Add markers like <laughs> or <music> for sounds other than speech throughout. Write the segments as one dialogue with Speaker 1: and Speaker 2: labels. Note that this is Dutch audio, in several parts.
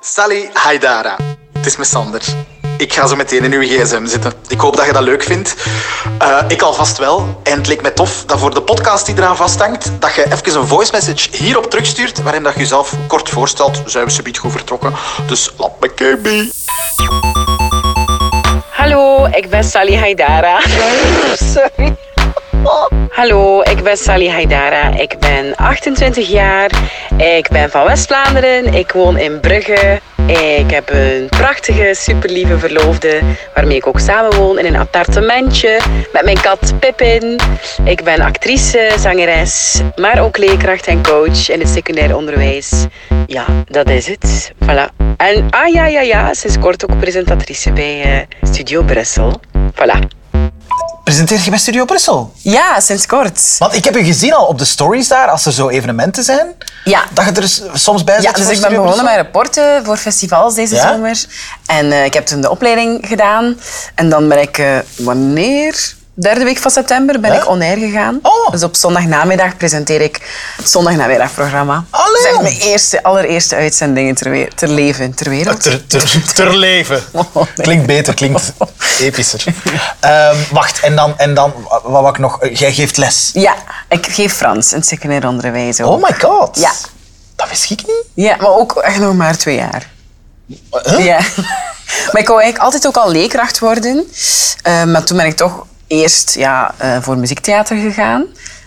Speaker 1: Sally Haidara. Het is met Sander. Ik ga zo meteen in uw gsm zitten. Ik hoop dat je dat leuk vindt. Eh, ik alvast wel. En het leek me tof dat voor de podcast die eraan vasthangt, dat je even een voice message hierop terugstuurt, waarin dat je jezelf kort voorstelt. Zijn we subiet goed vertrokken. Dus laat me KB.
Speaker 2: Hallo, ik ben Sally Haidara. Sorry. Hallo, ik ben Sally Haidara. Ik ben 28 jaar. Ik ben van West-Vlaanderen. Ik woon in Brugge. Ik heb een prachtige, superlieve verloofde waarmee ik ook samenwoon in een appartementje met mijn kat Pippin. Ik ben actrice, zangeres, maar ook leerkracht en coach in het secundair onderwijs. Ja, dat is het. Voilà. En ah ja, ja, ja, sinds kort ook presentatrice bij eh, Studio Brussel. Voilà.
Speaker 3: Presenteert je bij Studio Brussel?
Speaker 2: Ja, sinds kort.
Speaker 3: Want ik heb je gezien al op de stories daar, als er zo evenementen zijn.
Speaker 4: Ja.
Speaker 3: Dat je er s- soms bij
Speaker 4: Ja,
Speaker 3: zit.
Speaker 4: dus
Speaker 3: voor
Speaker 4: ik ben
Speaker 3: Studio
Speaker 4: begonnen met
Speaker 3: Brussel.
Speaker 4: rapporten voor festivals deze
Speaker 3: Ja?
Speaker 4: zomer. En eh, ik heb toen de opleiding gedaan. En dan ben ik, eh, wanneer? Derde week van september ben
Speaker 3: Ja?
Speaker 4: ik on-air gegaan.
Speaker 3: Oh.
Speaker 4: Dus op zondagnamiddag presenteer ik het zondagnamiddagprogramma. Dat is echt
Speaker 3: Allee.
Speaker 4: mijn eerste, allereerste uitzendingen ter, we- ter leven, ter wereld.
Speaker 3: Ter, ter, ter leven.
Speaker 4: <laughs> Oh, nee.
Speaker 3: Klinkt beter, klinkt epischer. Ehm, wacht, en dan, en dan wa- wat wou ik nog? Eh, Jij geeft les.
Speaker 4: Ja, ik geef Frans in het secundair onderwijs ook.
Speaker 3: Oh my god.
Speaker 4: Ja.
Speaker 3: Dat wist ik niet.
Speaker 4: Ja, maar ook echt nog maar twee jaar.
Speaker 3: Huh?
Speaker 4: Ja. <laughs> Maar ik wou eigenlijk altijd ook al leerkracht worden. Eh, maar toen ben ik toch eerst ja, eh, voor muziektheater gegaan.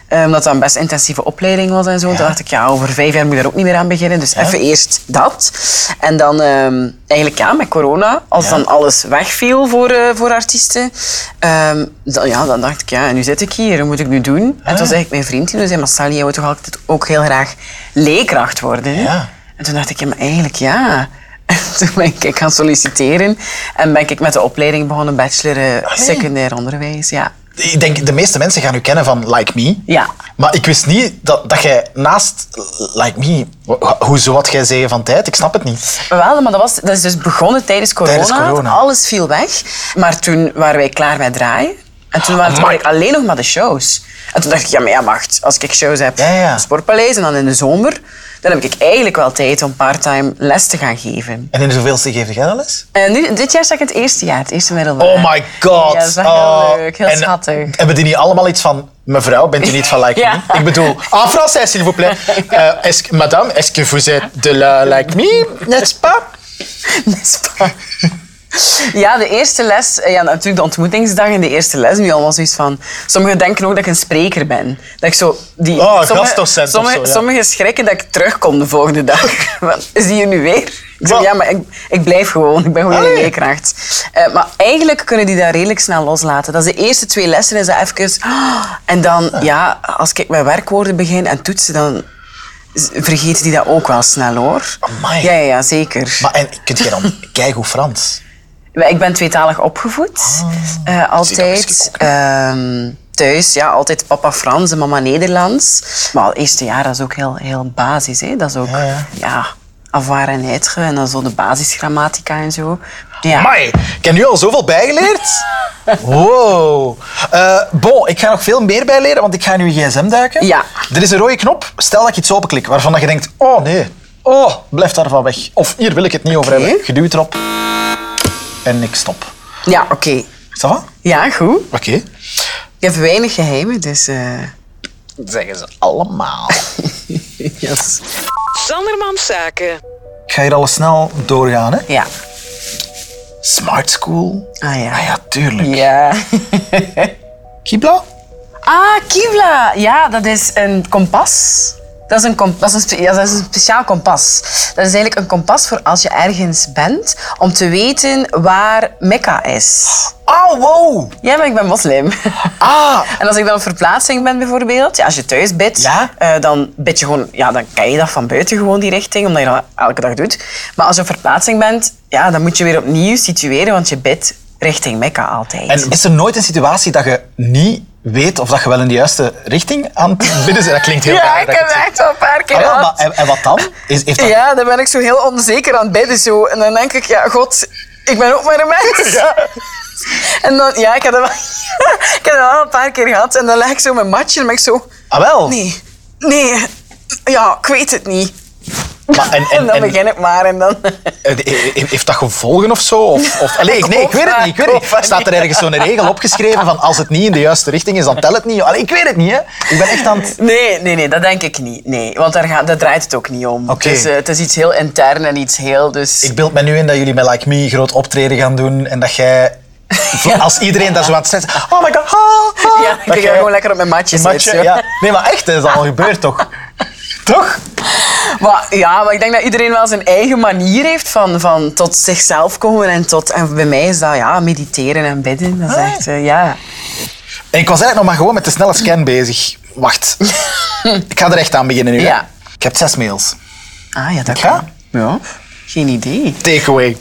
Speaker 4: Eh, Omdat dat een best intensieve opleiding was en zo. Toen dacht ik, ja, over vijf jaar moet je daar ook niet meer aan beginnen. Dus even eerst dat. En dan ehm, eigenlijk ja, met corona, als dan alles wegviel voor, eh, voor artiesten. ehm, dan, ja, dan dacht ik, ja, en nu zit ik hier, wat moet ik nu doen? En toen was eigenlijk mijn vriend die toen zei, maar Sally, jij wil toch altijd ook heel graag leerkracht worden?
Speaker 3: Ja.
Speaker 4: En toen dacht ik, ja, maar eigenlijk ja. <laughs> En toen ben ik gaan solliciteren en ben ik met de opleiding begonnen, bachelor eh, secundair onderwijs. Ja.
Speaker 3: Ik denk, de meeste mensen gaan u kennen van Like Me.
Speaker 4: Ja.
Speaker 3: Maar ik wist niet dat, dat jij naast Like Me... wa- Hoezo had jij zeeën van tijd? Ik snap het niet.
Speaker 4: Maar Wel, maar dat, was, dat is dus begonnen tijdens corona.
Speaker 3: Tijdens corona.
Speaker 4: Alles viel weg. Maar toen waren wij klaar met draaien. En toen waren het
Speaker 3: Amai.
Speaker 4: eigenlijk alleen nog maar de shows. En toen dacht ik, ja, maar ja, wacht. Als ik shows heb
Speaker 3: Ja, ja.
Speaker 4: in het Sportpaleis en dan in de zomer, dan heb ik eigenlijk wel tijd om parttime les te gaan geven.
Speaker 3: En in de zoveelste geef jij dat les?
Speaker 4: En nu, dit jaar sta ik in het eerste jaar, het eerste middelbaar.
Speaker 3: Oh my god.
Speaker 4: Ja, dat is echt
Speaker 3: Oh.
Speaker 4: heel leuk, heel
Speaker 3: En
Speaker 4: schattig.
Speaker 3: Hebben die niet allemaal iets van... Mevrouw, bent u niet van Like
Speaker 4: Ja.
Speaker 3: Me? Ik bedoel, en français, s'il vous
Speaker 4: <laughs>
Speaker 3: plaît. Eh, est-ce que- madame, est-ce que vous êtes de la Like Me, n'est-ce pas?
Speaker 4: <laughs> N'est-ce pas? Ja, de eerste les, eh, ja, natuurlijk de ontmoetingsdag en de eerste les, nu allemaal zoiets van. Sommigen denken ook dat ik een spreker ben. Dat ik zo die,
Speaker 3: Oh, gastdocent of
Speaker 4: sommigen,
Speaker 3: zo, ja.
Speaker 4: sommigen schrikken dat ik terugkom de volgende
Speaker 3: <laughs>
Speaker 4: dag. Want, Zie je nu weer? Ik zeg,
Speaker 3: Wat?
Speaker 4: ja, maar ik, ik blijf gewoon, ik ben gewoon
Speaker 3: Allee.
Speaker 4: een leerkracht. Eh, maar eigenlijk kunnen die dat redelijk snel loslaten. Dat is de eerste twee lessen, is dat even. <gasps> "Ah." En dan, ja, als ik met werkwoorden begin en toetsen, dan z- vergeten die dat ook wel snel hoor.
Speaker 3: Amai.
Speaker 4: Ja, ja, ja, zeker.
Speaker 3: Maar en, kunt jij
Speaker 4: <laughs>
Speaker 3: dan keigoed Frans?
Speaker 4: Ik ben tweetalig opgevoed. eh,
Speaker 3: wist
Speaker 4: altijd.
Speaker 3: ik ook
Speaker 4: Ehm, thuis, ja, altijd papa Frans en mama Nederlands. Maar het eerste jaar, dat is ook heel, heel basis. Hè. Dat is ook,
Speaker 3: Ja,
Speaker 4: ja,
Speaker 3: ja.
Speaker 4: avoir en être. En dan zo de basisgrammatica en zo. Ja.
Speaker 3: Amai, ik heb nu al zoveel bijgeleerd. Wow. Eh, bon, ik ga nog veel meer bijleren, want ik ga in uw gsm duiken.
Speaker 4: Ja.
Speaker 3: Er is een rode knop. Stel dat ik iets openklik waarvan dat je denkt, oh nee, oh, blijf daarvan weg. Of hier wil ik het niet over
Speaker 4: Oké.
Speaker 3: hebben. Je duwt erop en ik stop.
Speaker 4: Ja, oké.
Speaker 3: Is dat wat?
Speaker 4: Ja, goed.
Speaker 3: Oké.
Speaker 4: Ik heb weinig geheimen, dus... eh
Speaker 3: Zeggen ze allemaal.
Speaker 4: yes.
Speaker 2: Sandermans Zaken.
Speaker 3: Ik ga hier al snel doorgaan, hè.
Speaker 4: Ja.
Speaker 3: Smart school.
Speaker 4: Ah, ja.
Speaker 3: Ah ja, tuurlijk.
Speaker 4: Ja.
Speaker 3: Kibla?
Speaker 4: Ah, Kivla. Ja, dat is een kompas. Dat is een, kom- dat, is een spe- ja, dat is een speciaal kompas. Dat is eigenlijk een kompas voor als je ergens bent, om te weten waar Mekka is.
Speaker 3: Ah, wow.
Speaker 4: Ja, maar ik ben moslim. <laughs>
Speaker 3: Ah,
Speaker 4: En als ik dan op verplaatsing ben bijvoorbeeld, ja, als je thuis bidt,
Speaker 3: Ja?
Speaker 4: eh, dan bid je gewoon, ja, dan ken je dat van buiten gewoon die richting, omdat je dat elke dag doet. Maar als je op verplaatsing bent, ja, dan moet je weer opnieuw situeren, want je bidt richting Mekka altijd.
Speaker 3: En is er nooit een situatie dat je niet weet of dat je wel in de juiste richting aan het bidden bent? Dat klinkt heel
Speaker 4: <laughs> ja,
Speaker 3: raar.
Speaker 4: ik
Speaker 3: dat ik
Speaker 4: heb
Speaker 3: het zeg.
Speaker 4: echt al een paar keer
Speaker 3: Ah, wel,
Speaker 4: gehad.
Speaker 3: maar, en, en wat dan? Is, heeft dat...
Speaker 4: Ja, dan ben ik zo heel onzeker aan het bidden. Zo. En dan denk ik, ja, god, ik ben ook maar een <laughs> mens. En dan, ja, ik heb dat wel, <laughs> ik heb dat wel een paar keer gehad. En dan leg ik zo mijn matje en ben ik zo,
Speaker 3: Ah, wel?
Speaker 4: nee, nee, ja, ik weet het niet.
Speaker 3: Maar en,
Speaker 4: En
Speaker 3: en,
Speaker 4: <laughs> dan
Speaker 3: en,
Speaker 4: begin ik maar en dan... <laughs>
Speaker 3: eh, he- he- heeft dat gevolgen of zo? Of, of, allee, ik, nee, ik weet het niet. Ik weet het niet. Staat er ergens zo'n regel opgeschreven van als het niet in de juiste richting is, dan telt het niet? Allee, ik weet het niet. Hè. Ik ben echt aan het...
Speaker 4: Nee, nee, nee, dat denk ik niet. Nee, want daar, gaat, daar draait het ook niet om.
Speaker 3: Oké.
Speaker 4: Het, is, eh, het is iets heel intern en iets heel... Dus...
Speaker 3: Ik beeld me nu in dat jullie met Like Me groot optreden gaan doen en dat
Speaker 4: <laughs>
Speaker 3: jij, voor- als iedereen daar zo aan het zitten is, oh my god, ah, ah,
Speaker 4: Ja,
Speaker 3: dat
Speaker 4: ik ga
Speaker 3: jij-
Speaker 4: gewoon lekker op mijn matjes
Speaker 3: matje,
Speaker 4: zitten.
Speaker 3: ja. Nee, maar echt, dat is al gebeurd, toch?
Speaker 4: <laughs>
Speaker 3: Toch?
Speaker 4: Maar, ja, maar ik denk dat iedereen wel zijn eigen manier heeft van, van tot zichzelf komen en tot... En bij mij is dat ja, mediteren en bidden. Dat is
Speaker 3: Ah.
Speaker 4: echt, eh, ja.
Speaker 3: En ik was eigenlijk nog maar gewoon met de snelle scan bezig. Wacht. ik ga er echt aan beginnen nu. hè.
Speaker 4: Ja.
Speaker 3: Ik heb zes mails.
Speaker 4: Ah ja, dat
Speaker 3: Ik ga.
Speaker 4: kan. Ja. Geen idee.
Speaker 3: Takeaway.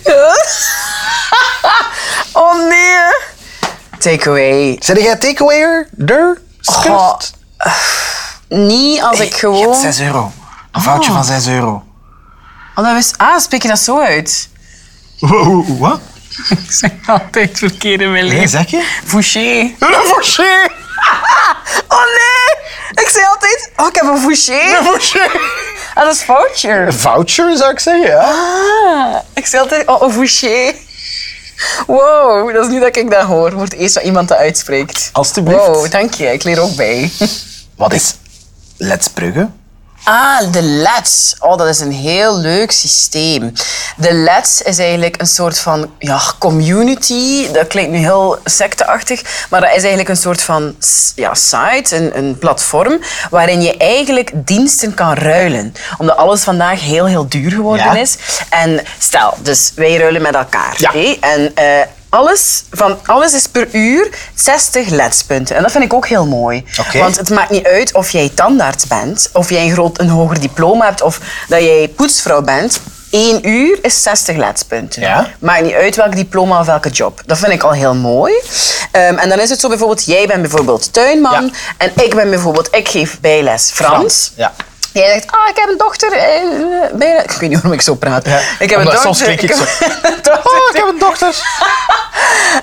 Speaker 4: Oh nee. Takeaway.
Speaker 3: Zeg jij takeawayer? Der?
Speaker 4: Goh,
Speaker 3: Schrift?
Speaker 4: Niet als
Speaker 3: Je
Speaker 4: Oh, ik
Speaker 3: hebt
Speaker 4: gewoon...
Speaker 3: 6 euro. Een foutje van 6 euro.
Speaker 4: Oh, dat wist... Ah, spreek je dat zo uit?
Speaker 3: Wat?
Speaker 4: Ik zeg altijd verkeerd in mijn
Speaker 3: Nee, zeg
Speaker 4: <laughs>
Speaker 3: je?
Speaker 4: Fouché.
Speaker 3: Een foutje!
Speaker 4: Oh nee! Ik zei altijd, oh, ik heb een fouché.
Speaker 3: Een foutje!
Speaker 4: Ah, dat is foutje.
Speaker 3: Voucher zou ik zeggen, ja.
Speaker 4: Ah, ik zei altijd, oh, een fouché. Wow, dat is niet dat ik dat hoor. Wordt eerst wat iemand dat uitspreekt.
Speaker 3: Alsjeblieft.
Speaker 4: Wow, dank je. Ik leer ook bij.
Speaker 3: Wat is Let's Brugge?
Speaker 4: Ah, de LEDs. Oh, dat is een heel leuk systeem. De LEDs is eigenlijk een soort van ja, community. Dat klinkt nu heel secteachtig, maar dat is eigenlijk een soort van s- ja, site, een, een platform, waarin je eigenlijk diensten kan ruilen. Omdat alles vandaag heel, heel duur geworden
Speaker 3: Ja.
Speaker 4: is. En stel, dus wij ruilen met elkaar.
Speaker 3: Ja.
Speaker 4: oké? En eh, alles, van, alles is per uur 60 ledspunten. En dat vind ik ook heel mooi.
Speaker 3: Oké.
Speaker 4: Want het maakt niet uit of jij tandarts bent, of jij een, groot, een hoger diploma hebt, of dat jij poetsvrouw bent. Eén uur is 60 ledspunten.
Speaker 3: Ja.
Speaker 4: Maakt niet uit welk diploma of welke job. Dat vind ik al heel mooi. Ehm, en dan is het zo bijvoorbeeld, jij bent bijvoorbeeld tuinman
Speaker 3: Ja.
Speaker 4: en ik ben bijvoorbeeld, ik geef bijles Frans.
Speaker 3: Ja.
Speaker 4: Jij zegt, ah, ik heb een dochter. eh, eh, bijna- Ik weet niet waarom ik zo praat.
Speaker 3: Ja,
Speaker 4: Ik heb een
Speaker 3: omdat
Speaker 4: dochter.
Speaker 3: soms klink ik zo.
Speaker 4: heb een dochter.
Speaker 3: Oh, ik heb een dochter.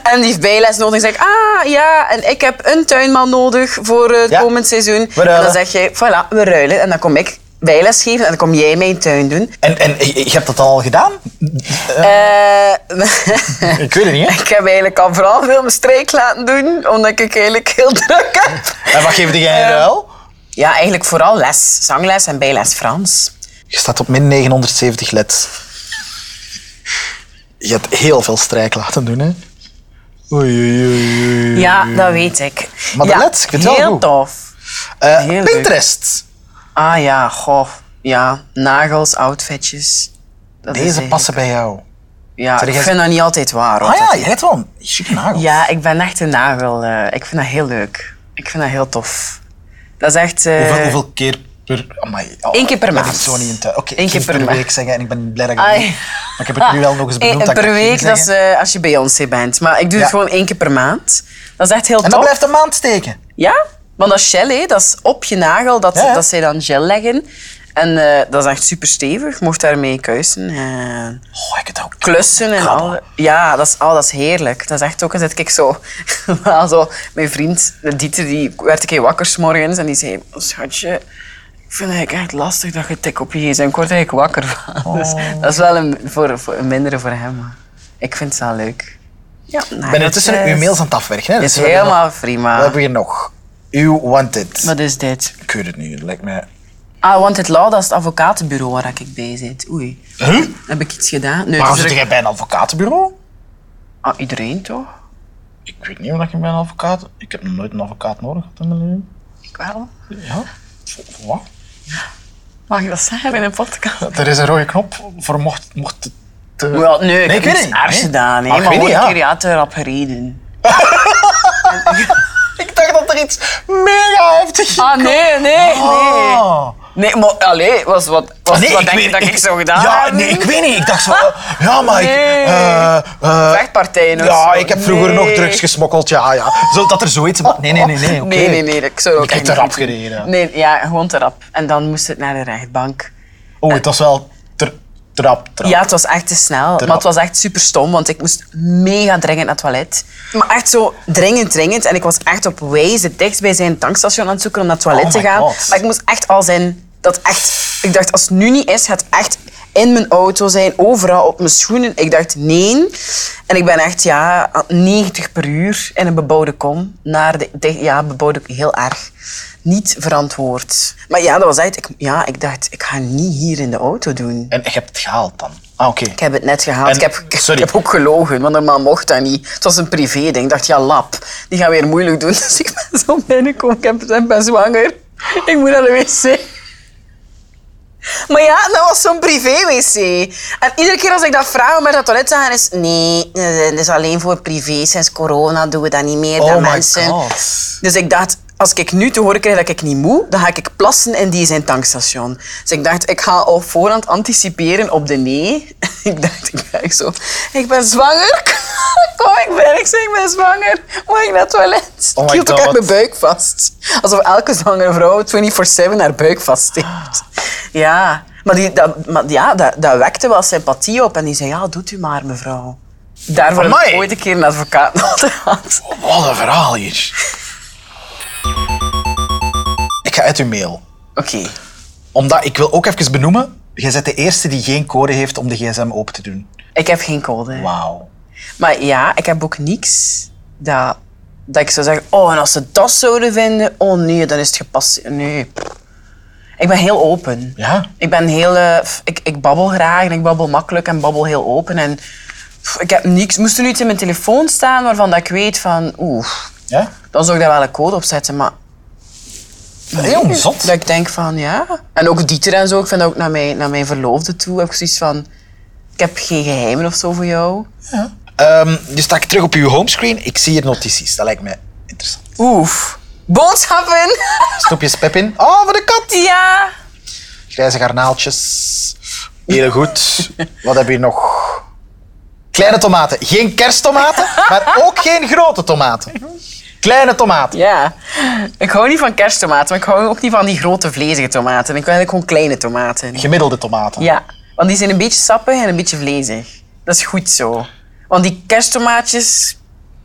Speaker 4: En die heeft bijles nodig. Dan zeg ik, ah ja, en ik heb een tuinman nodig voor eh, het
Speaker 3: Ja.
Speaker 4: komend seizoen.
Speaker 3: We ruilen.
Speaker 4: En dan zeg je, voilà, we ruilen. En dan kom ik bijles geven en dan kom jij mijn tuin doen.
Speaker 3: En, en je je hebt dat al gedaan? Eh,
Speaker 4: Eh, <laughs>
Speaker 3: ik weet het niet, hè?
Speaker 4: ik heb eigenlijk al vooral veel mijn streek laten doen, omdat ik eigenlijk heel druk heb.
Speaker 3: En wat geef jij in
Speaker 4: Eh,
Speaker 3: ruil?
Speaker 4: Ja, eigenlijk vooral les. Zangles en bijles Frans.
Speaker 3: Je staat op min 970 leds. Je hebt heel veel strijk laten doen, hè? Oei, oei, oei, oei.
Speaker 4: Ja, dat weet ik.
Speaker 3: Hmm. Maar de
Speaker 4: ja,
Speaker 3: les, ik vind het wel
Speaker 4: Heel
Speaker 3: goed.
Speaker 4: tof.
Speaker 3: Eh,
Speaker 4: heel leuk.
Speaker 3: Pinterest.
Speaker 4: Ah ja, goh. Ja, nagels, outfitjes. Dat is
Speaker 3: Deze
Speaker 4: eigenlijk-
Speaker 3: passen bij jou.
Speaker 4: Ja,
Speaker 3: Zeg,
Speaker 4: ik
Speaker 3: jij-
Speaker 4: vind dat niet altijd waar. hoor.
Speaker 3: Ah ja, je hebt wel een chique nagel.
Speaker 4: Ja, ik ben echt een nagel. eh, ik vind dat heel leuk. Ik vind dat heel tof. Dat is echt... eh,
Speaker 3: Hoeveel, hoeveel keer per... Amai, oh,
Speaker 4: Eén keer per
Speaker 3: dat
Speaker 4: maand.
Speaker 3: is zo niet in tuin. Oké,
Speaker 4: Eén
Speaker 3: ik
Speaker 4: keer
Speaker 3: ging
Speaker 4: per
Speaker 3: het per
Speaker 4: maand.
Speaker 3: week zeggen en ik ben blij dat ik
Speaker 4: Ah,
Speaker 3: het
Speaker 4: ja.
Speaker 3: niet- <laughs> Maar ik heb het nu wel nog eens benoemd.
Speaker 4: Eén
Speaker 3: dat ik
Speaker 4: per
Speaker 3: dat ging
Speaker 4: week, dat is
Speaker 3: zeggen.
Speaker 4: eh, als je Beyoncé bent. Maar ik doe
Speaker 3: Ja.
Speaker 4: het gewoon één keer per maand. Dat is echt heel
Speaker 3: En
Speaker 4: tof.
Speaker 3: dat blijft een maand steken.
Speaker 4: Ja, want dat is gel, hè. dat is op je nagel dat,
Speaker 3: Ja, ja.
Speaker 4: dat zij dan gel leggen. En eh, dat is echt super stevig. Je mocht daarmee kuisen. eh. en
Speaker 3: Oh, ik heb het ook.
Speaker 4: klussen en al.
Speaker 3: Krabben.
Speaker 4: Ja, dat is, al, dat is heerlijk. Dat is echt ook. Dan zit ik zo, <laughs> wel zo. Mijn vriend Dieter, die werd ik wakker 's morgens en die zei: "Oh, Schatje, ik vind het eigenlijk echt lastig dat je tik op je gsm. Ik word er eigenlijk wakker van. <laughs> Dus
Speaker 3: Oh.
Speaker 4: dat is wel een, voor, voor, een mindere voor hem. maar Ik vind het wel leuk. Ja,
Speaker 3: Ik ben intussen uw mails aan het afwerken. Hè?
Speaker 4: Het is
Speaker 3: Dus we hebben
Speaker 4: helemaal
Speaker 3: nog-
Speaker 4: prima.
Speaker 3: We hebben hier nog. You wanted.
Speaker 4: Wat is dit?
Speaker 3: Ik weet het niet, het lijkt mij...
Speaker 4: Ah, want het law, dat is het advocatenbureau waar ik bij zit. Oei.
Speaker 3: Huh?
Speaker 4: Heb ik iets gedaan? Nee,
Speaker 3: Waarom
Speaker 4: het
Speaker 3: zit
Speaker 4: is er-
Speaker 3: jij bij een advocatenbureau?
Speaker 4: Ah, iedereen toch?
Speaker 3: Ik weet niet of ik bij een advocaat... Ik heb nog nooit een advocaat nodig gehad in mijn leven.
Speaker 4: Ik wel.
Speaker 3: Ja? Voor, voor wat?
Speaker 4: Mag ik dat zeggen in een podcast?
Speaker 3: Er is een rode knop voor mocht, mocht het... te-
Speaker 4: Wel, nee, ik
Speaker 3: Nee, ik
Speaker 4: heb
Speaker 3: weet
Speaker 4: niets
Speaker 3: het niet.
Speaker 4: ergs gedaan. hè,
Speaker 3: Ah, ik
Speaker 4: maar
Speaker 3: weet
Speaker 4: gewoon
Speaker 3: niet,
Speaker 4: een
Speaker 3: ja.
Speaker 4: keer ja, te rap gereden.
Speaker 3: Ik dacht dat er iets mega heftig ging
Speaker 4: Ah, nee, nee, nee.
Speaker 3: Oh.
Speaker 4: Nee, maar allee, was wat, was,
Speaker 3: Nee,
Speaker 4: wat denk je
Speaker 3: weet-
Speaker 4: dat ik, zo gedaan
Speaker 3: Ja,
Speaker 4: heb?
Speaker 3: nee, ik weet niet. Ik dacht zo... eh, Ja, maar ik...
Speaker 4: Nee.
Speaker 3: eh, eh,
Speaker 4: Vechtpartijen of
Speaker 3: ja,
Speaker 4: zo.
Speaker 3: ik heb vroeger
Speaker 4: Nee. Oh,
Speaker 3: nog drugs gesmokkeld. Ja, ja. Zo, dat er zoiets... Maar nee, nee, nee. Nee, oké.
Speaker 4: Nee, nee, nee, ik zou ook
Speaker 3: Ik heb
Speaker 4: echt
Speaker 3: te
Speaker 4: niet
Speaker 3: rap
Speaker 4: doen.
Speaker 3: gereden.
Speaker 4: Nee, ja, gewoon te rap. En dan moest het naar de rechtbank.
Speaker 3: Oh, het was wel... Ter, trap, trap.
Speaker 4: Ja, het was echt te snel.
Speaker 3: rap.
Speaker 4: Maar het was echt super stom, want ik moest mega dringend naar het toilet. Maar echt zo dringend, dringend. En ik was echt op Waze, het dichtst bij zijn tankstation aan het zoeken om naar het toilet
Speaker 3: Oh
Speaker 4: te
Speaker 3: my
Speaker 4: gaan.
Speaker 3: God.
Speaker 4: Maar ik moest echt al zijn Dat echt, ik dacht, als het nu niet is, het echt in mijn auto zijn, overal op mijn schoenen. Ik dacht, nee. En ik ben echt, ja, 90 per uur in een bebouwde kom. Naar de, de- ja, bebouwde, heel erg. Niet verantwoord. Maar ja, dat was echt, ik, ja, ik dacht, ik ga niet hier in de auto doen.
Speaker 3: En je hebt het gehaald dan? Ah, oké.
Speaker 4: Ik heb het net gehaald.
Speaker 3: En-
Speaker 4: ik, heb, ik,
Speaker 3: sorry.
Speaker 4: heb ook gelogen, want normaal mocht dat niet. Het was een privé-ding. Ik dacht, ja, lap. Die gaan weer moeilijk doen. <laughs> Dus ik ben zo binnengekomen. Ik heb- ik ben zwanger. Ik moet naar de wc. Maar ja, dat was zo'n privé-wc. En iedere keer als ik dat vraag om naar dat toilet te gaan, is... Nee, eh, dat is alleen voor privé. Sinds corona doen we dat niet meer.
Speaker 3: Oh
Speaker 4: dat
Speaker 3: my
Speaker 4: mensen...
Speaker 3: god.
Speaker 4: Dus ik dacht, als ik nu te horen krijg dat ik niet moet, dan ga ik plassen in die zijn tankstation. Dus ik dacht, ik ga op voorhand anticiperen op de nee. <laughs> Ik dacht, ik ben echt zo, ik ben zwanger. <laughs> Kom, ik ben, ik zeg, ik ben zwanger. Mag ik naar het toilet?
Speaker 3: Oh my
Speaker 4: ik hield ook echt
Speaker 3: God.
Speaker 4: mijn buik vast. Alsof elke zwangere vrouw 24-7 haar buik vast heeft.
Speaker 3: Ah.
Speaker 4: Ja, maar, die, dat, maar ja, dat, dat wekte wel sympathie op. En die zei, ja, doet u maar, mevrouw. Daarvoor heb ik
Speaker 3: Amai.
Speaker 4: ooit een keer een advocaat <laughs> nodig gehad.
Speaker 3: Wat een verhaal hier. Ik ga uit uw mail.
Speaker 4: Oké.
Speaker 3: Omdat ik wil ook even benoemen, jij bent de eerste die geen code heeft om de gsm open te doen.
Speaker 4: Ik heb geen code.
Speaker 3: Wauw.
Speaker 4: Maar ja, ik heb ook niks dat, dat ik zou zeggen, oh, en als ze dat zouden vinden, oh nee, dan is het gepasseerd. Nee. Ik ben heel open.
Speaker 3: Ja?
Speaker 4: Ik ben heel... eh, f- ik, ik babbel graag en ik babbel makkelijk en babbel heel open. En f, ik heb niks... Moest er nu iets in mijn telefoon staan waarvan dat ik weet van... Oeh,
Speaker 3: Ja?
Speaker 4: dan zou ik daar wel een code op zetten, maar...
Speaker 3: Heel zot.
Speaker 4: Dat ik denk van, ja... En ook Dieter en zo, ik vind dat ook naar mijn, naar mijn verloofde toe, heb ik zoiets van... Ik heb geen geheimen of zo voor jou.
Speaker 3: Ehm, dus sta ik terug op uw homescreen. Ik zie hier notities. Dat lijkt mij interessant.
Speaker 4: Oef. Boodschappen! <laughs>
Speaker 3: Snoepjes Pepin. Oh, voor de kat.
Speaker 4: Ja!
Speaker 3: Grijze garnaaltjes. Heel goed. Wat heb je nog? Kleine tomaten. Geen kersttomaten, maar ook geen grote tomaten. Kleine tomaten.
Speaker 4: Ja. Ik hou niet van kersttomaten, maar ik hou ook niet van die grote vlezige tomaten. Ik wil eigenlijk gewoon kleine tomaten.
Speaker 3: Gemiddelde tomaten.
Speaker 4: Ja, want die zijn een beetje sappig en een beetje vlezig. Dat is goed zo. Want die kersttomaatjes...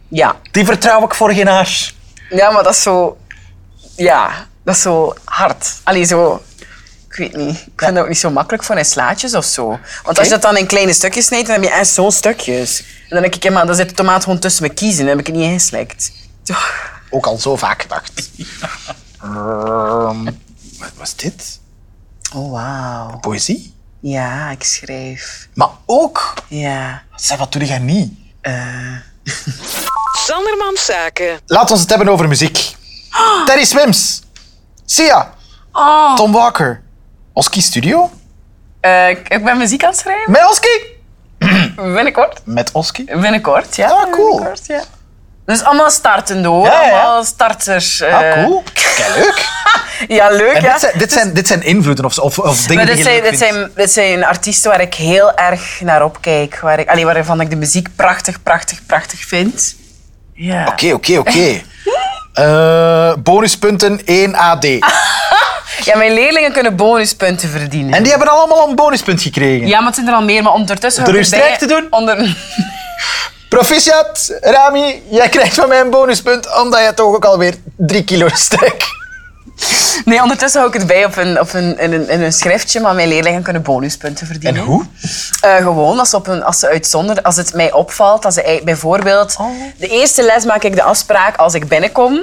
Speaker 4: Ja.
Speaker 3: Die vertrouw ik voor geen haas.
Speaker 4: Ja, maar dat is zo... Ja, dat is zo hard. Allee, zo... Ik weet niet. Ik vind dat ook niet zo makkelijk voor in slaatjes of zo. Want als je dat dan in kleine stukjes snijdt, dan heb je echt zo'n stukjes. En dan denk ik, ja, maar dan zit de tomaat gewoon tussen mijn kiezen. Dan heb ik het niet ingeslikt. Toch?
Speaker 3: Ook al zo vaak gedacht. Ehm, wat was dit?
Speaker 4: Oh, wauw.
Speaker 3: Poëzie?
Speaker 4: Ja, ik schrijf.
Speaker 3: Maar ook...
Speaker 4: Ja.
Speaker 3: Zeg, wat doe jij niet?
Speaker 2: Sandermans Zaken.
Speaker 3: Laat ons het hebben over muziek. Terry Swims. Sia.
Speaker 4: Oh.
Speaker 3: Tom Walker. Oski Studio.
Speaker 4: Eh, ik, ik ben muziek aan het schrijven.
Speaker 3: Met Oski.
Speaker 4: Binnenkort.
Speaker 3: Met Oski.
Speaker 4: Binnenkort, ja.
Speaker 3: Ah, cool.
Speaker 4: Binnenkort, ja. Dus allemaal starten door.
Speaker 3: Ja, ja.
Speaker 4: Allemaal starters.
Speaker 3: Ah,
Speaker 4: eh.
Speaker 3: cool. Kijk, leuk.
Speaker 4: Ja, leuk,
Speaker 3: En
Speaker 4: ja.
Speaker 3: dit, zijn, dit, zijn, dit zijn invloeden of, of, of dingen die
Speaker 4: maar dit
Speaker 3: je
Speaker 4: zijn,
Speaker 3: leuk
Speaker 4: dit,
Speaker 3: vindt.
Speaker 4: zijn, dit zijn artiesten waar ik heel erg naar opkijk. Waar ik, allee, waarvan ik de muziek prachtig, prachtig, prachtig vind. Ja.
Speaker 3: Oké, oké, oké. Eh, Bonuspunten 1 AD.
Speaker 4: Ja, mijn leerlingen kunnen bonuspunten verdienen.
Speaker 3: En die hebben allemaal een bonuspunt gekregen.
Speaker 4: Ja, maar het zijn er al meer. Maar ondertussen...
Speaker 3: Door
Speaker 4: hou
Speaker 3: uw
Speaker 4: ik erbij-
Speaker 3: strijk te doen?
Speaker 4: Onder... <laughs>
Speaker 3: Proficiat, Rami, jij krijgt van mij een bonuspunt omdat je toch ook alweer drie kilo <laughs> sterk.
Speaker 4: Mhm. Nee, ondertussen hou ik het bij op een, op een, in een, in een schriftje, maar mijn leerlingen kunnen bonuspunten verdienen. Eh, gewoon als, ze op een, als ze uitzonder, als het mij opvalt. Als ze, ei- bijvoorbeeld, de eerste les maak ik de afspraak als ik binnenkom.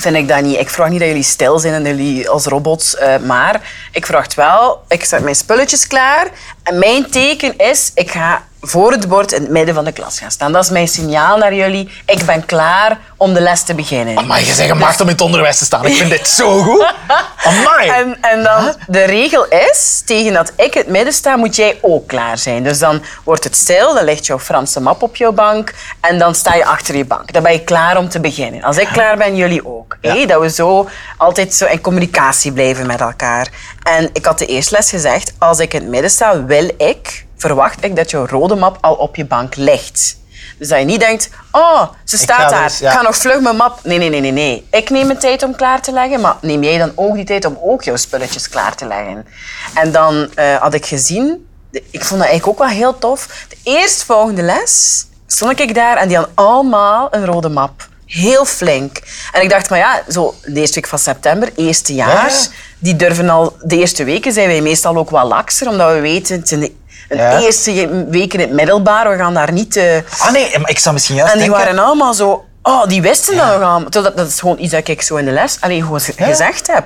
Speaker 4: Vind ik dat niet. Ik vraag niet dat jullie stil zijn en jullie als robots. eh, maar ik vraag wel, ik zet mijn spulletjes klaar. En mijn teken is, ik ga voor het bord in het midden van de klas gaan staan. Dat is mijn signaal naar jullie. Ik ben klaar om de les te beginnen.
Speaker 3: Maar je zegt maakt om in het onderwijs te staan. Ik vind dit zo
Speaker 4: <laughs>
Speaker 3: goed. <laughs> Amai.
Speaker 4: En, en dan de regel is, tegen dat ik het midden sta, moet jij ook klaar zijn. Dus dan wordt het stil, dan ligt jouw Franse map op jouw bank en dan sta je achter je bank. Dan ben je klaar om te beginnen. Als ik klaar ben, jullie ook. Hé, dat we zo altijd zo in communicatie blijven met elkaar. En ik had de eerste les gezegd, als ik in het midden sta, wil ik, verwacht ik dat jouw rode map al op je bank ligt. Dus dat je niet denkt, oh, ze
Speaker 3: ga
Speaker 4: staat daar.
Speaker 3: er eens, ja.
Speaker 4: Ik ga nog vlug mijn map. Nee, nee, nee, nee, nee. Ik neem mijn tijd om klaar te leggen, maar neem jij dan ook die tijd om ook jouw spulletjes klaar te leggen? En dan eh, had ik gezien, de- ik vond dat eigenlijk ook wel heel tof. De eerstvolgende les stond ik daar en die hadden allemaal een rode map. Heel flink. En ik dacht, maar ja, zo de eerste week van september, eerstejaars,
Speaker 3: Ja.
Speaker 4: die durven al... De eerste weken zijn wij meestal ook wat lakser, omdat we weten, het zijn de een
Speaker 3: Ja.
Speaker 4: eerste je- week in het middelbaar, we gaan daar niet... eh,
Speaker 3: Ah nee, maar ik zou misschien juist
Speaker 4: en die
Speaker 3: denken...
Speaker 4: waren allemaal zo... Oh, die wisten dat nog allemaal. Terwijl Dat, dat is gewoon iets dat ik zo in de les alleen gewoon ge-
Speaker 3: Ja.
Speaker 4: gezegd heb.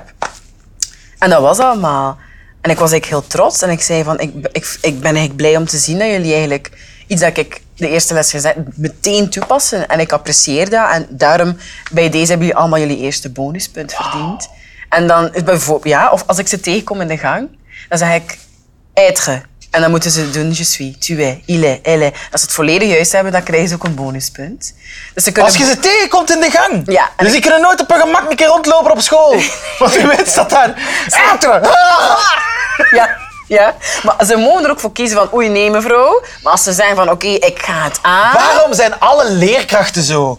Speaker 4: En dat was allemaal. En ik was eigenlijk heel trots. En ik zei van, ik, b- ik, ik ben eigenlijk blij om te zien dat jullie eigenlijk iets dat ik de eerste les gezegd meteen toepassen. En ik apprecieer dat. En daarom, bij deze hebben jullie allemaal jullie eerste bonuspunt verdiend. En dan, is bijvoorbeeld, ja, of als ik ze tegenkom in de gang, dan zeg ik, être. En dan moeten ze doen, je suis, tu es, il est, elle est. Als ze het volledig juist hebben, dan krijgen ze ook een bonuspunt. Dus ze kunnen...
Speaker 3: Als je ze tegenkomt in de gang.
Speaker 4: Ja, en
Speaker 3: Dus ik kan nooit op een gemak een keer rondlopen op
Speaker 4: <laughs>
Speaker 3: school. Want u weet dat daar... Eter!
Speaker 4: Ja, ja. Maar ze mogen er ook voor kiezen van, oei, nee mevrouw. Maar als ze zeggen van, oké, ik ga het aan.
Speaker 3: Waarom zijn alle leerkrachten zo?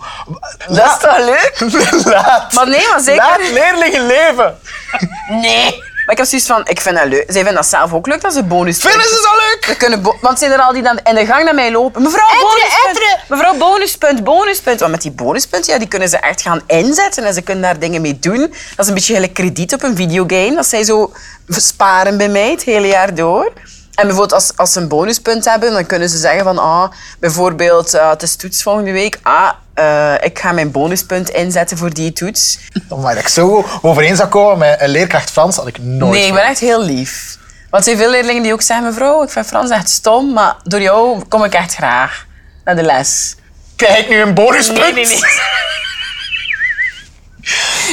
Speaker 4: Dat is toch leuk?
Speaker 3: <laughs> Laat.
Speaker 4: Maar nee, maar zeker-
Speaker 3: Laat leerlingen leven.
Speaker 4: <laughs> Nee. Maar ik heb zoiets van, ik vind dat leuk. Zij vinden dat zelf ook leuk, dat ze bonus
Speaker 3: Vinden ze zo leuk?
Speaker 4: Ze kunnen bo- Want zijn er al die dan in de gang naar mij lopen? Mevrouw,
Speaker 2: Etteren,
Speaker 4: bonuspunt,
Speaker 2: etteren.
Speaker 4: mevrouw, bonuspunt, bonuspunt. Want met die bonuspunten, ja, die kunnen ze echt gaan inzetten en ze kunnen daar dingen mee doen. Dat is een beetje gelijk krediet op een videogame. Dat zij zo sparen bij mij het hele jaar door. En bijvoorbeeld als, als ze een bonuspunt hebben, dan kunnen ze zeggen van, ah, bijvoorbeeld, eh, het is toets volgende week. Ah, eh, ik ga mijn bonuspunt inzetten voor die toets.
Speaker 3: Maar dat ik zo overeen zou komen met een leerkracht Frans, had ik nooit.
Speaker 4: Nee, ik ben echt heel lief. Want er zijn veel leerlingen die ook zeggen, mevrouw, ik vind Frans echt stom, maar door jou kom ik echt graag naar de les.
Speaker 3: Krijg ik nu een bonuspunt?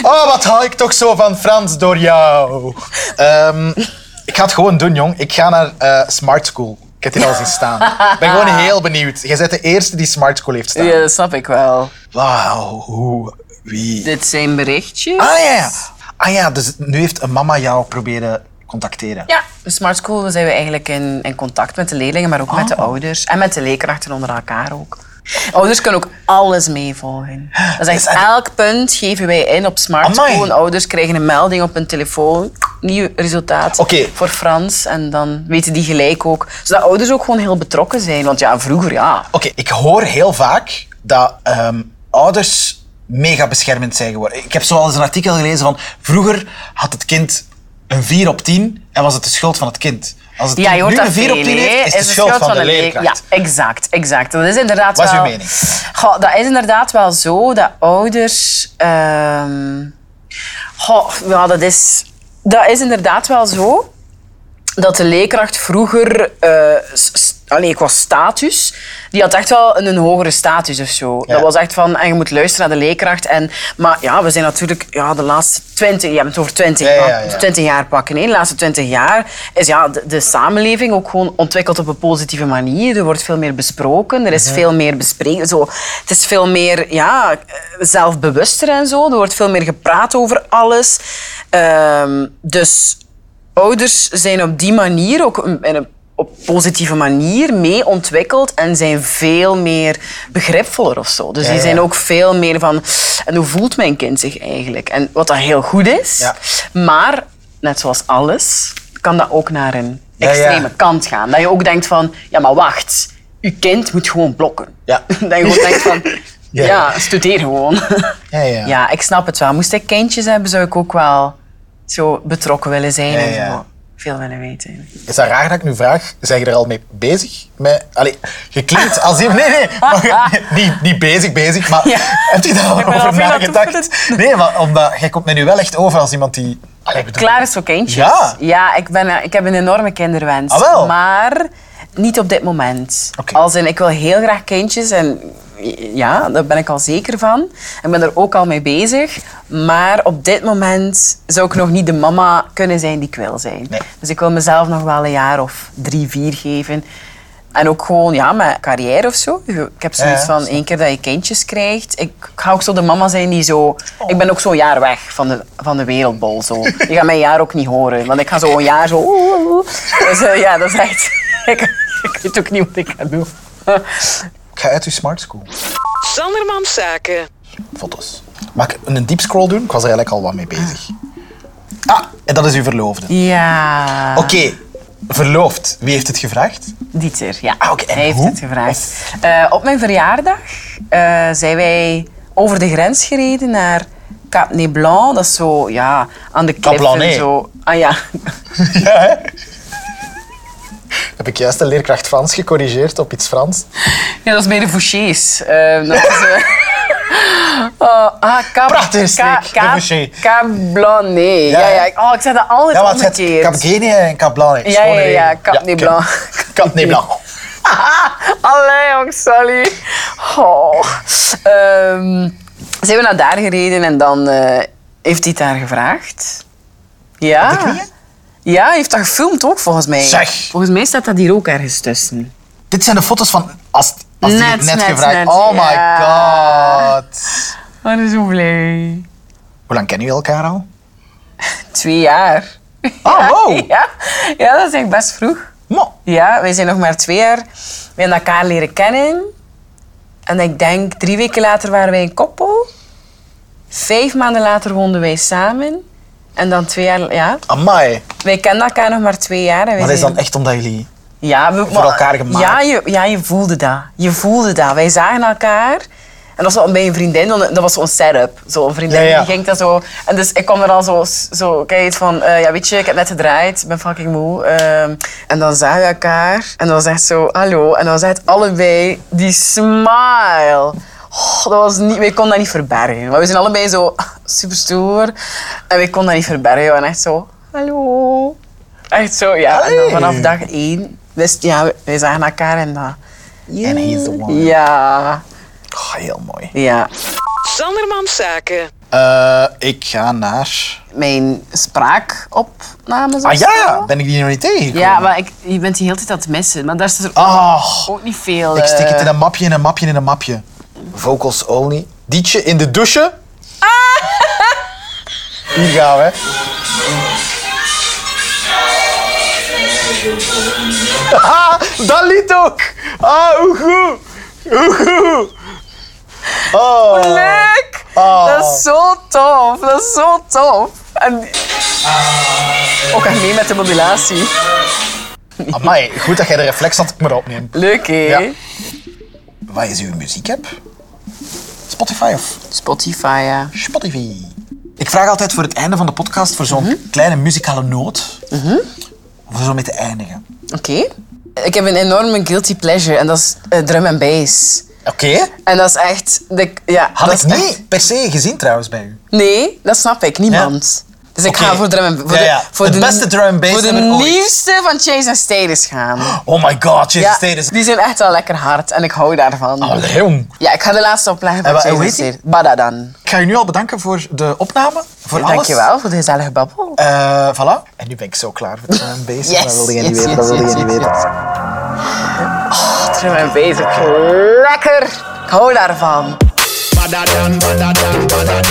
Speaker 3: Oh, wat haal ik toch zo van Frans door jou? Ehm, ik ga het gewoon doen, jong. Ik ga naar eh, Smart School. Ik heb hier al zien staan. Ik ben gewoon heel benieuwd. Jij bent de eerste die Smart School heeft staan.
Speaker 4: Ja, dat snap ik wel.
Speaker 3: Wauw, hoe, wie?
Speaker 4: Dit zijn berichtjes.
Speaker 3: Ah ja, ja. Ah ja, dus nu heeft een mama jou proberen contacteren.
Speaker 4: Ja, de Smart School zijn we eigenlijk in, in contact met de leerlingen, maar ook met de ouders. En met de leerkrachten onder elkaar ook. Ouders kunnen ook alles meevolgen. Dat is
Speaker 3: Dus
Speaker 4: echt elk punt geven wij in op Smart
Speaker 3: Amai.
Speaker 4: School. Ouders krijgen een melding op hun telefoon. Nieuw resultaat
Speaker 3: Oké.
Speaker 4: voor Frans. En dan weten die gelijk ook. Zodat ouders ook gewoon heel betrokken zijn. Want ja, vroeger ja.
Speaker 3: Oké, ik hoor heel vaak dat ehm, ouders mega beschermend zijn geworden. Ik heb zoal eens een artikel gelezen van vroeger had het kind een 4 op 10 en was het de schuld van het kind. Als het
Speaker 4: Ja,
Speaker 3: kind
Speaker 4: je Dus hoort
Speaker 3: nu
Speaker 4: dat
Speaker 3: een 4 op 10
Speaker 4: veel, hè.
Speaker 3: heeft, is,
Speaker 4: Is
Speaker 3: de schuld, van, de
Speaker 4: leer-
Speaker 3: leerkracht.
Speaker 4: Ja, exact, exact. Dat is inderdaad
Speaker 3: Wat is
Speaker 4: wel...
Speaker 3: uw mening?
Speaker 4: Goh, dat is inderdaad wel zo dat ouders... ehm, Goh, ja, dat is... Dat is inderdaad wel zo dat de leerkracht vroeger... eh, s- s- Allee, qua status, die had echt wel een, een hogere status of zo.
Speaker 3: Ja.
Speaker 4: Dat was echt van, en je moet luisteren naar de leerkracht. En, maar ja, we zijn natuurlijk ja, de laatste twintig, je hebt het over twintig,
Speaker 3: Ja, ja,
Speaker 4: ja,
Speaker 3: ja.
Speaker 4: 20 jaar pakken. Hè. De laatste 20 jaar is ja, de, de samenleving ook gewoon ontwikkeld op een positieve manier. Er wordt veel meer besproken, er is
Speaker 3: Mhm.
Speaker 4: veel meer bespreken. Zo, het is veel meer ja, eh, zelfbewuster en zo. Er wordt veel meer gepraat over alles. Ehm, dus ouders zijn op die manier ook een- in een op positieve manier mee ontwikkeld en zijn veel meer begripvoller of zo. Dus
Speaker 3: Ja,
Speaker 4: die
Speaker 3: ja.
Speaker 4: zijn ook veel meer van... En hoe voelt mijn kind zich eigenlijk? En wat dat heel goed is.
Speaker 3: Ja.
Speaker 4: Maar, net zoals alles, kan dat ook naar een
Speaker 3: Ja, ja.
Speaker 4: extreme kant gaan. Dat je ook denkt van, ja maar wacht, je kind moet gewoon blokken.
Speaker 3: Ja.
Speaker 4: <laughs> dat je gewoon denkt van,
Speaker 3: <laughs> Ja.
Speaker 4: ja, studeer gewoon.
Speaker 3: Ja, ja.
Speaker 4: <laughs> Ja, ik snap het wel. Moest ik kindjes hebben, zou ik ook wel zo betrokken willen zijn
Speaker 3: Ja,
Speaker 4: en
Speaker 3: ja.
Speaker 4: zo veel willen weten.
Speaker 3: Is dat raar dat ik nu vraag? Zijn je er al mee bezig? Met, allee, je klinkt als iemand... Nee, nee,
Speaker 4: <laughs>
Speaker 3: maar, niet, niet bezig, bezig, maar
Speaker 4: Ja.
Speaker 3: heb je daar al
Speaker 4: Ik ben al
Speaker 3: over
Speaker 4: veel aan het
Speaker 3: nagedacht?
Speaker 4: oefenen.
Speaker 3: Nee, maar omdat, jij komt mij nu wel echt over als iemand die... Allee, ik bedoel-
Speaker 4: Klaar is voor kindjes.
Speaker 3: Ja.
Speaker 4: Ja, ik, ben, eh, ik heb een enorme kinderwens.
Speaker 3: Ah, wel?
Speaker 4: Maar niet op dit moment.
Speaker 3: Oké.
Speaker 4: Als in, ik wil heel graag kindjes en ja, daar ben ik al zeker van. Ik ben er ook al mee bezig. Maar op dit moment zou ik nog niet de mama kunnen zijn die ik wil zijn.
Speaker 3: Nee.
Speaker 4: Dus ik wil mezelf nog wel een jaar of drie, vier geven. En ook gewoon, ja, mijn carrière of zo. Ik heb zoiets
Speaker 3: Ja,
Speaker 4: van, één keer dat je kindjes krijgt. Ik ga ook zo de mama zijn die zo...
Speaker 3: Oh.
Speaker 4: Ik ben ook zo'n jaar weg van de, van de wereldbol. Zo. Je gaat mijn jaar ook niet horen. Want ik ga zo een jaar zo... oeh, oeh, oeh. Dus eh, ja, dat is echt... <laughs> Ik, ik weet ook niet wat ik ga doen. <laughs>
Speaker 3: Ik ga uit uw smart school.
Speaker 2: Sandermans Zaken.
Speaker 3: Foto's. Mag ik een deep scroll doen? Ik was er eigenlijk al wat mee bezig. Ah, en dat is uw verloofde.
Speaker 4: Ja.
Speaker 3: Oké, verloofd. Wie heeft het gevraagd?
Speaker 4: Dieter, ja.
Speaker 3: Ah, oké. En
Speaker 4: Hij heeft
Speaker 3: hoe?
Speaker 4: het gevraagd. Eh, op mijn verjaardag eh, zijn wij over de grens gereden naar Cap Neblanc. Dat is zo, ja, aan de klif
Speaker 3: Blanc,
Speaker 4: en zo. Ah ja, <laughs>
Speaker 3: Ja, hè? Heb ik juist de leerkracht Frans gecorrigeerd op iets Frans?
Speaker 4: Ja, dat is bij de Fouchés. Eh, dat is, eh, <laughs> oh, ah, Cap,
Speaker 3: Prachtige streek, de
Speaker 4: Cap,
Speaker 3: Fouché.
Speaker 4: Cap Blanc, nee.
Speaker 3: Ja,
Speaker 4: Ja,
Speaker 3: ja.
Speaker 4: ja. ik- Oh, ik zeg dat altijd
Speaker 3: Ja,
Speaker 4: ja,
Speaker 3: want het
Speaker 4: omgekeerd.
Speaker 3: heeft Capgeni en Cap Blanc. hè.
Speaker 4: ja, ja,
Speaker 3: Schone
Speaker 4: ja,
Speaker 3: regel.
Speaker 4: Cap Neblanc.
Speaker 3: Cap- Cap Neblanc.
Speaker 4: <laughs> Allee, jong, sorry. Oh. Ehm, zijn we naar daar gereden en dan eh, heeft hij het daar gevraagd. Ja.
Speaker 3: Op de knieën?
Speaker 4: Ja, hij heeft dat gefilmd ook, volgens mij.
Speaker 3: Zeg.
Speaker 4: Volgens mij staat dat hier ook ergens tussen.
Speaker 3: Dit zijn de foto's van als, als die
Speaker 4: Net,
Speaker 3: het net,
Speaker 4: net,
Speaker 3: gevraagd.
Speaker 4: net,
Speaker 3: oh my
Speaker 4: ja.
Speaker 3: god.
Speaker 4: Oh, dat is zo blij.
Speaker 3: Hoe lang kennen jullie elkaar al?
Speaker 4: Twee jaar.
Speaker 3: Oh, wow.
Speaker 4: <laughs> Ja, ja, dat is echt best vroeg.
Speaker 3: Mo.
Speaker 4: Ja, wij zijn nog maar twee jaar. We hebben elkaar leren kennen. En ik denk, drie weken later waren wij een koppel. Vijf maanden later woonden wij samen. En dan twee jaar, ja.
Speaker 3: Amai.
Speaker 4: Wij kennen elkaar nog maar twee jaar. En wij
Speaker 3: Maar dat is
Speaker 4: zijn-
Speaker 3: dan echt omdat jullie...
Speaker 4: ja, we, maar-
Speaker 3: elkaar gemaakt.
Speaker 4: Ja je, ja, je voelde dat. Je voelde dat. Wij zagen elkaar. En dat was wel bij een vriendin, want dat was zo'n setup. Zo'n vriendin
Speaker 3: Ja, ja.
Speaker 4: die ging dat zo. En dus ik kwam er al zo, zo kijk van, eh, ja weet je, ik heb net gedraaid, ik ben fucking moe. Ehm, en dan zagen we elkaar en dan zegt zo, hallo. En dan zegt allebei die smile. Oh, dat was niet, wij konden dat niet verbergen. Maar we zijn allebei zo <laughs> super stoer. En wij konden dat niet verbergen. En echt zo, hallo. Echt zo, ja. En dan vanaf
Speaker 3: Hey.
Speaker 4: dag één wist, ja, wij zagen elkaar en dat.
Speaker 3: En hij is de one.
Speaker 4: Ja,
Speaker 3: Oh, heel mooi.
Speaker 4: ja.
Speaker 2: Sandermans Zaken.
Speaker 3: Eh, ik ga naar...
Speaker 4: Mijn spraakopnames.
Speaker 3: Ah
Speaker 4: of
Speaker 3: ja,
Speaker 4: zo.
Speaker 3: ben ik die nog niet tegengekomen?
Speaker 4: Ja, maar ik, je bent die hele tijd aan het missen. Maar daar zit er
Speaker 3: Ah.
Speaker 4: ook niet veel.
Speaker 3: Ik stik het in
Speaker 4: eh,
Speaker 3: een mapje, in een mapje, in een mapje. Vocals only. Dietje in de douche.
Speaker 4: Ah!
Speaker 3: Hier gaan we. <laughs> Ah, dat lied ook. Ah, hoe goed. Hoe goed. Oh.
Speaker 4: Leuk!
Speaker 3: Ah.
Speaker 4: Dat is zo tof. Dat is zo tof. En...
Speaker 3: Ah.
Speaker 4: Ook echt mee met de modulatie.
Speaker 3: Amai, goed dat jij de reflex had dat ik me erop neem.
Speaker 4: Leuk, hè?
Speaker 3: Ja. Wat is uw muziekapp? Spotify of
Speaker 4: Spotify, ja.
Speaker 3: Spotify. Ik vraag altijd voor het einde van de podcast voor zo'n
Speaker 4: Mhm.
Speaker 3: kleine muzikale noot. Voor zo mee te eindigen.
Speaker 4: Oké. Ik heb een enorme guilty pleasure en dat is eh, drum en bass.
Speaker 3: Oké.
Speaker 4: En dat is echt... De, ja,
Speaker 3: Had
Speaker 4: dat
Speaker 3: ik
Speaker 4: is
Speaker 3: niet
Speaker 4: echt-
Speaker 3: per se gezien trouwens bij u.
Speaker 4: Nee, dat snap ik. Niemand. Dus ik
Speaker 3: Oké.
Speaker 4: ga voor drum en voor
Speaker 3: Ja,
Speaker 4: de-
Speaker 3: ja.
Speaker 4: Voor
Speaker 3: Het beste drum en bass
Speaker 4: Voor de
Speaker 3: dat er ooit is.
Speaker 4: nieuwste van Chase en Status gaan.
Speaker 3: Oh my god, Jason
Speaker 4: ja,
Speaker 3: Statham.
Speaker 4: Die zijn echt wel lekker hard en ik hou daarvan.
Speaker 3: Allee, jong.
Speaker 4: Ja, ik ga de laatste opleggen van
Speaker 3: Oh, En wa- en
Speaker 4: Chase
Speaker 3: hoe
Speaker 4: en
Speaker 3: heet die?
Speaker 4: Statham. Badadan.
Speaker 3: Ik ga je nu al bedanken voor de opname. Voor alles.
Speaker 4: Dankjewel voor de gezellige babbel.
Speaker 3: Eh, voilà. En nu ben ik zo klaar voor drum
Speaker 4: <laughs>
Speaker 3: en bass.
Speaker 4: Yes,
Speaker 3: Dat wilde je niet
Speaker 4: yes,
Speaker 3: weten.
Speaker 4: yes,
Speaker 3: dat wilde
Speaker 4: yes,
Speaker 3: je niet
Speaker 4: yes, Oh,
Speaker 3: weten.
Speaker 4: Drum en bass, lekker. Ik hou daarvan.
Speaker 5: Badadan, badadan, badadan.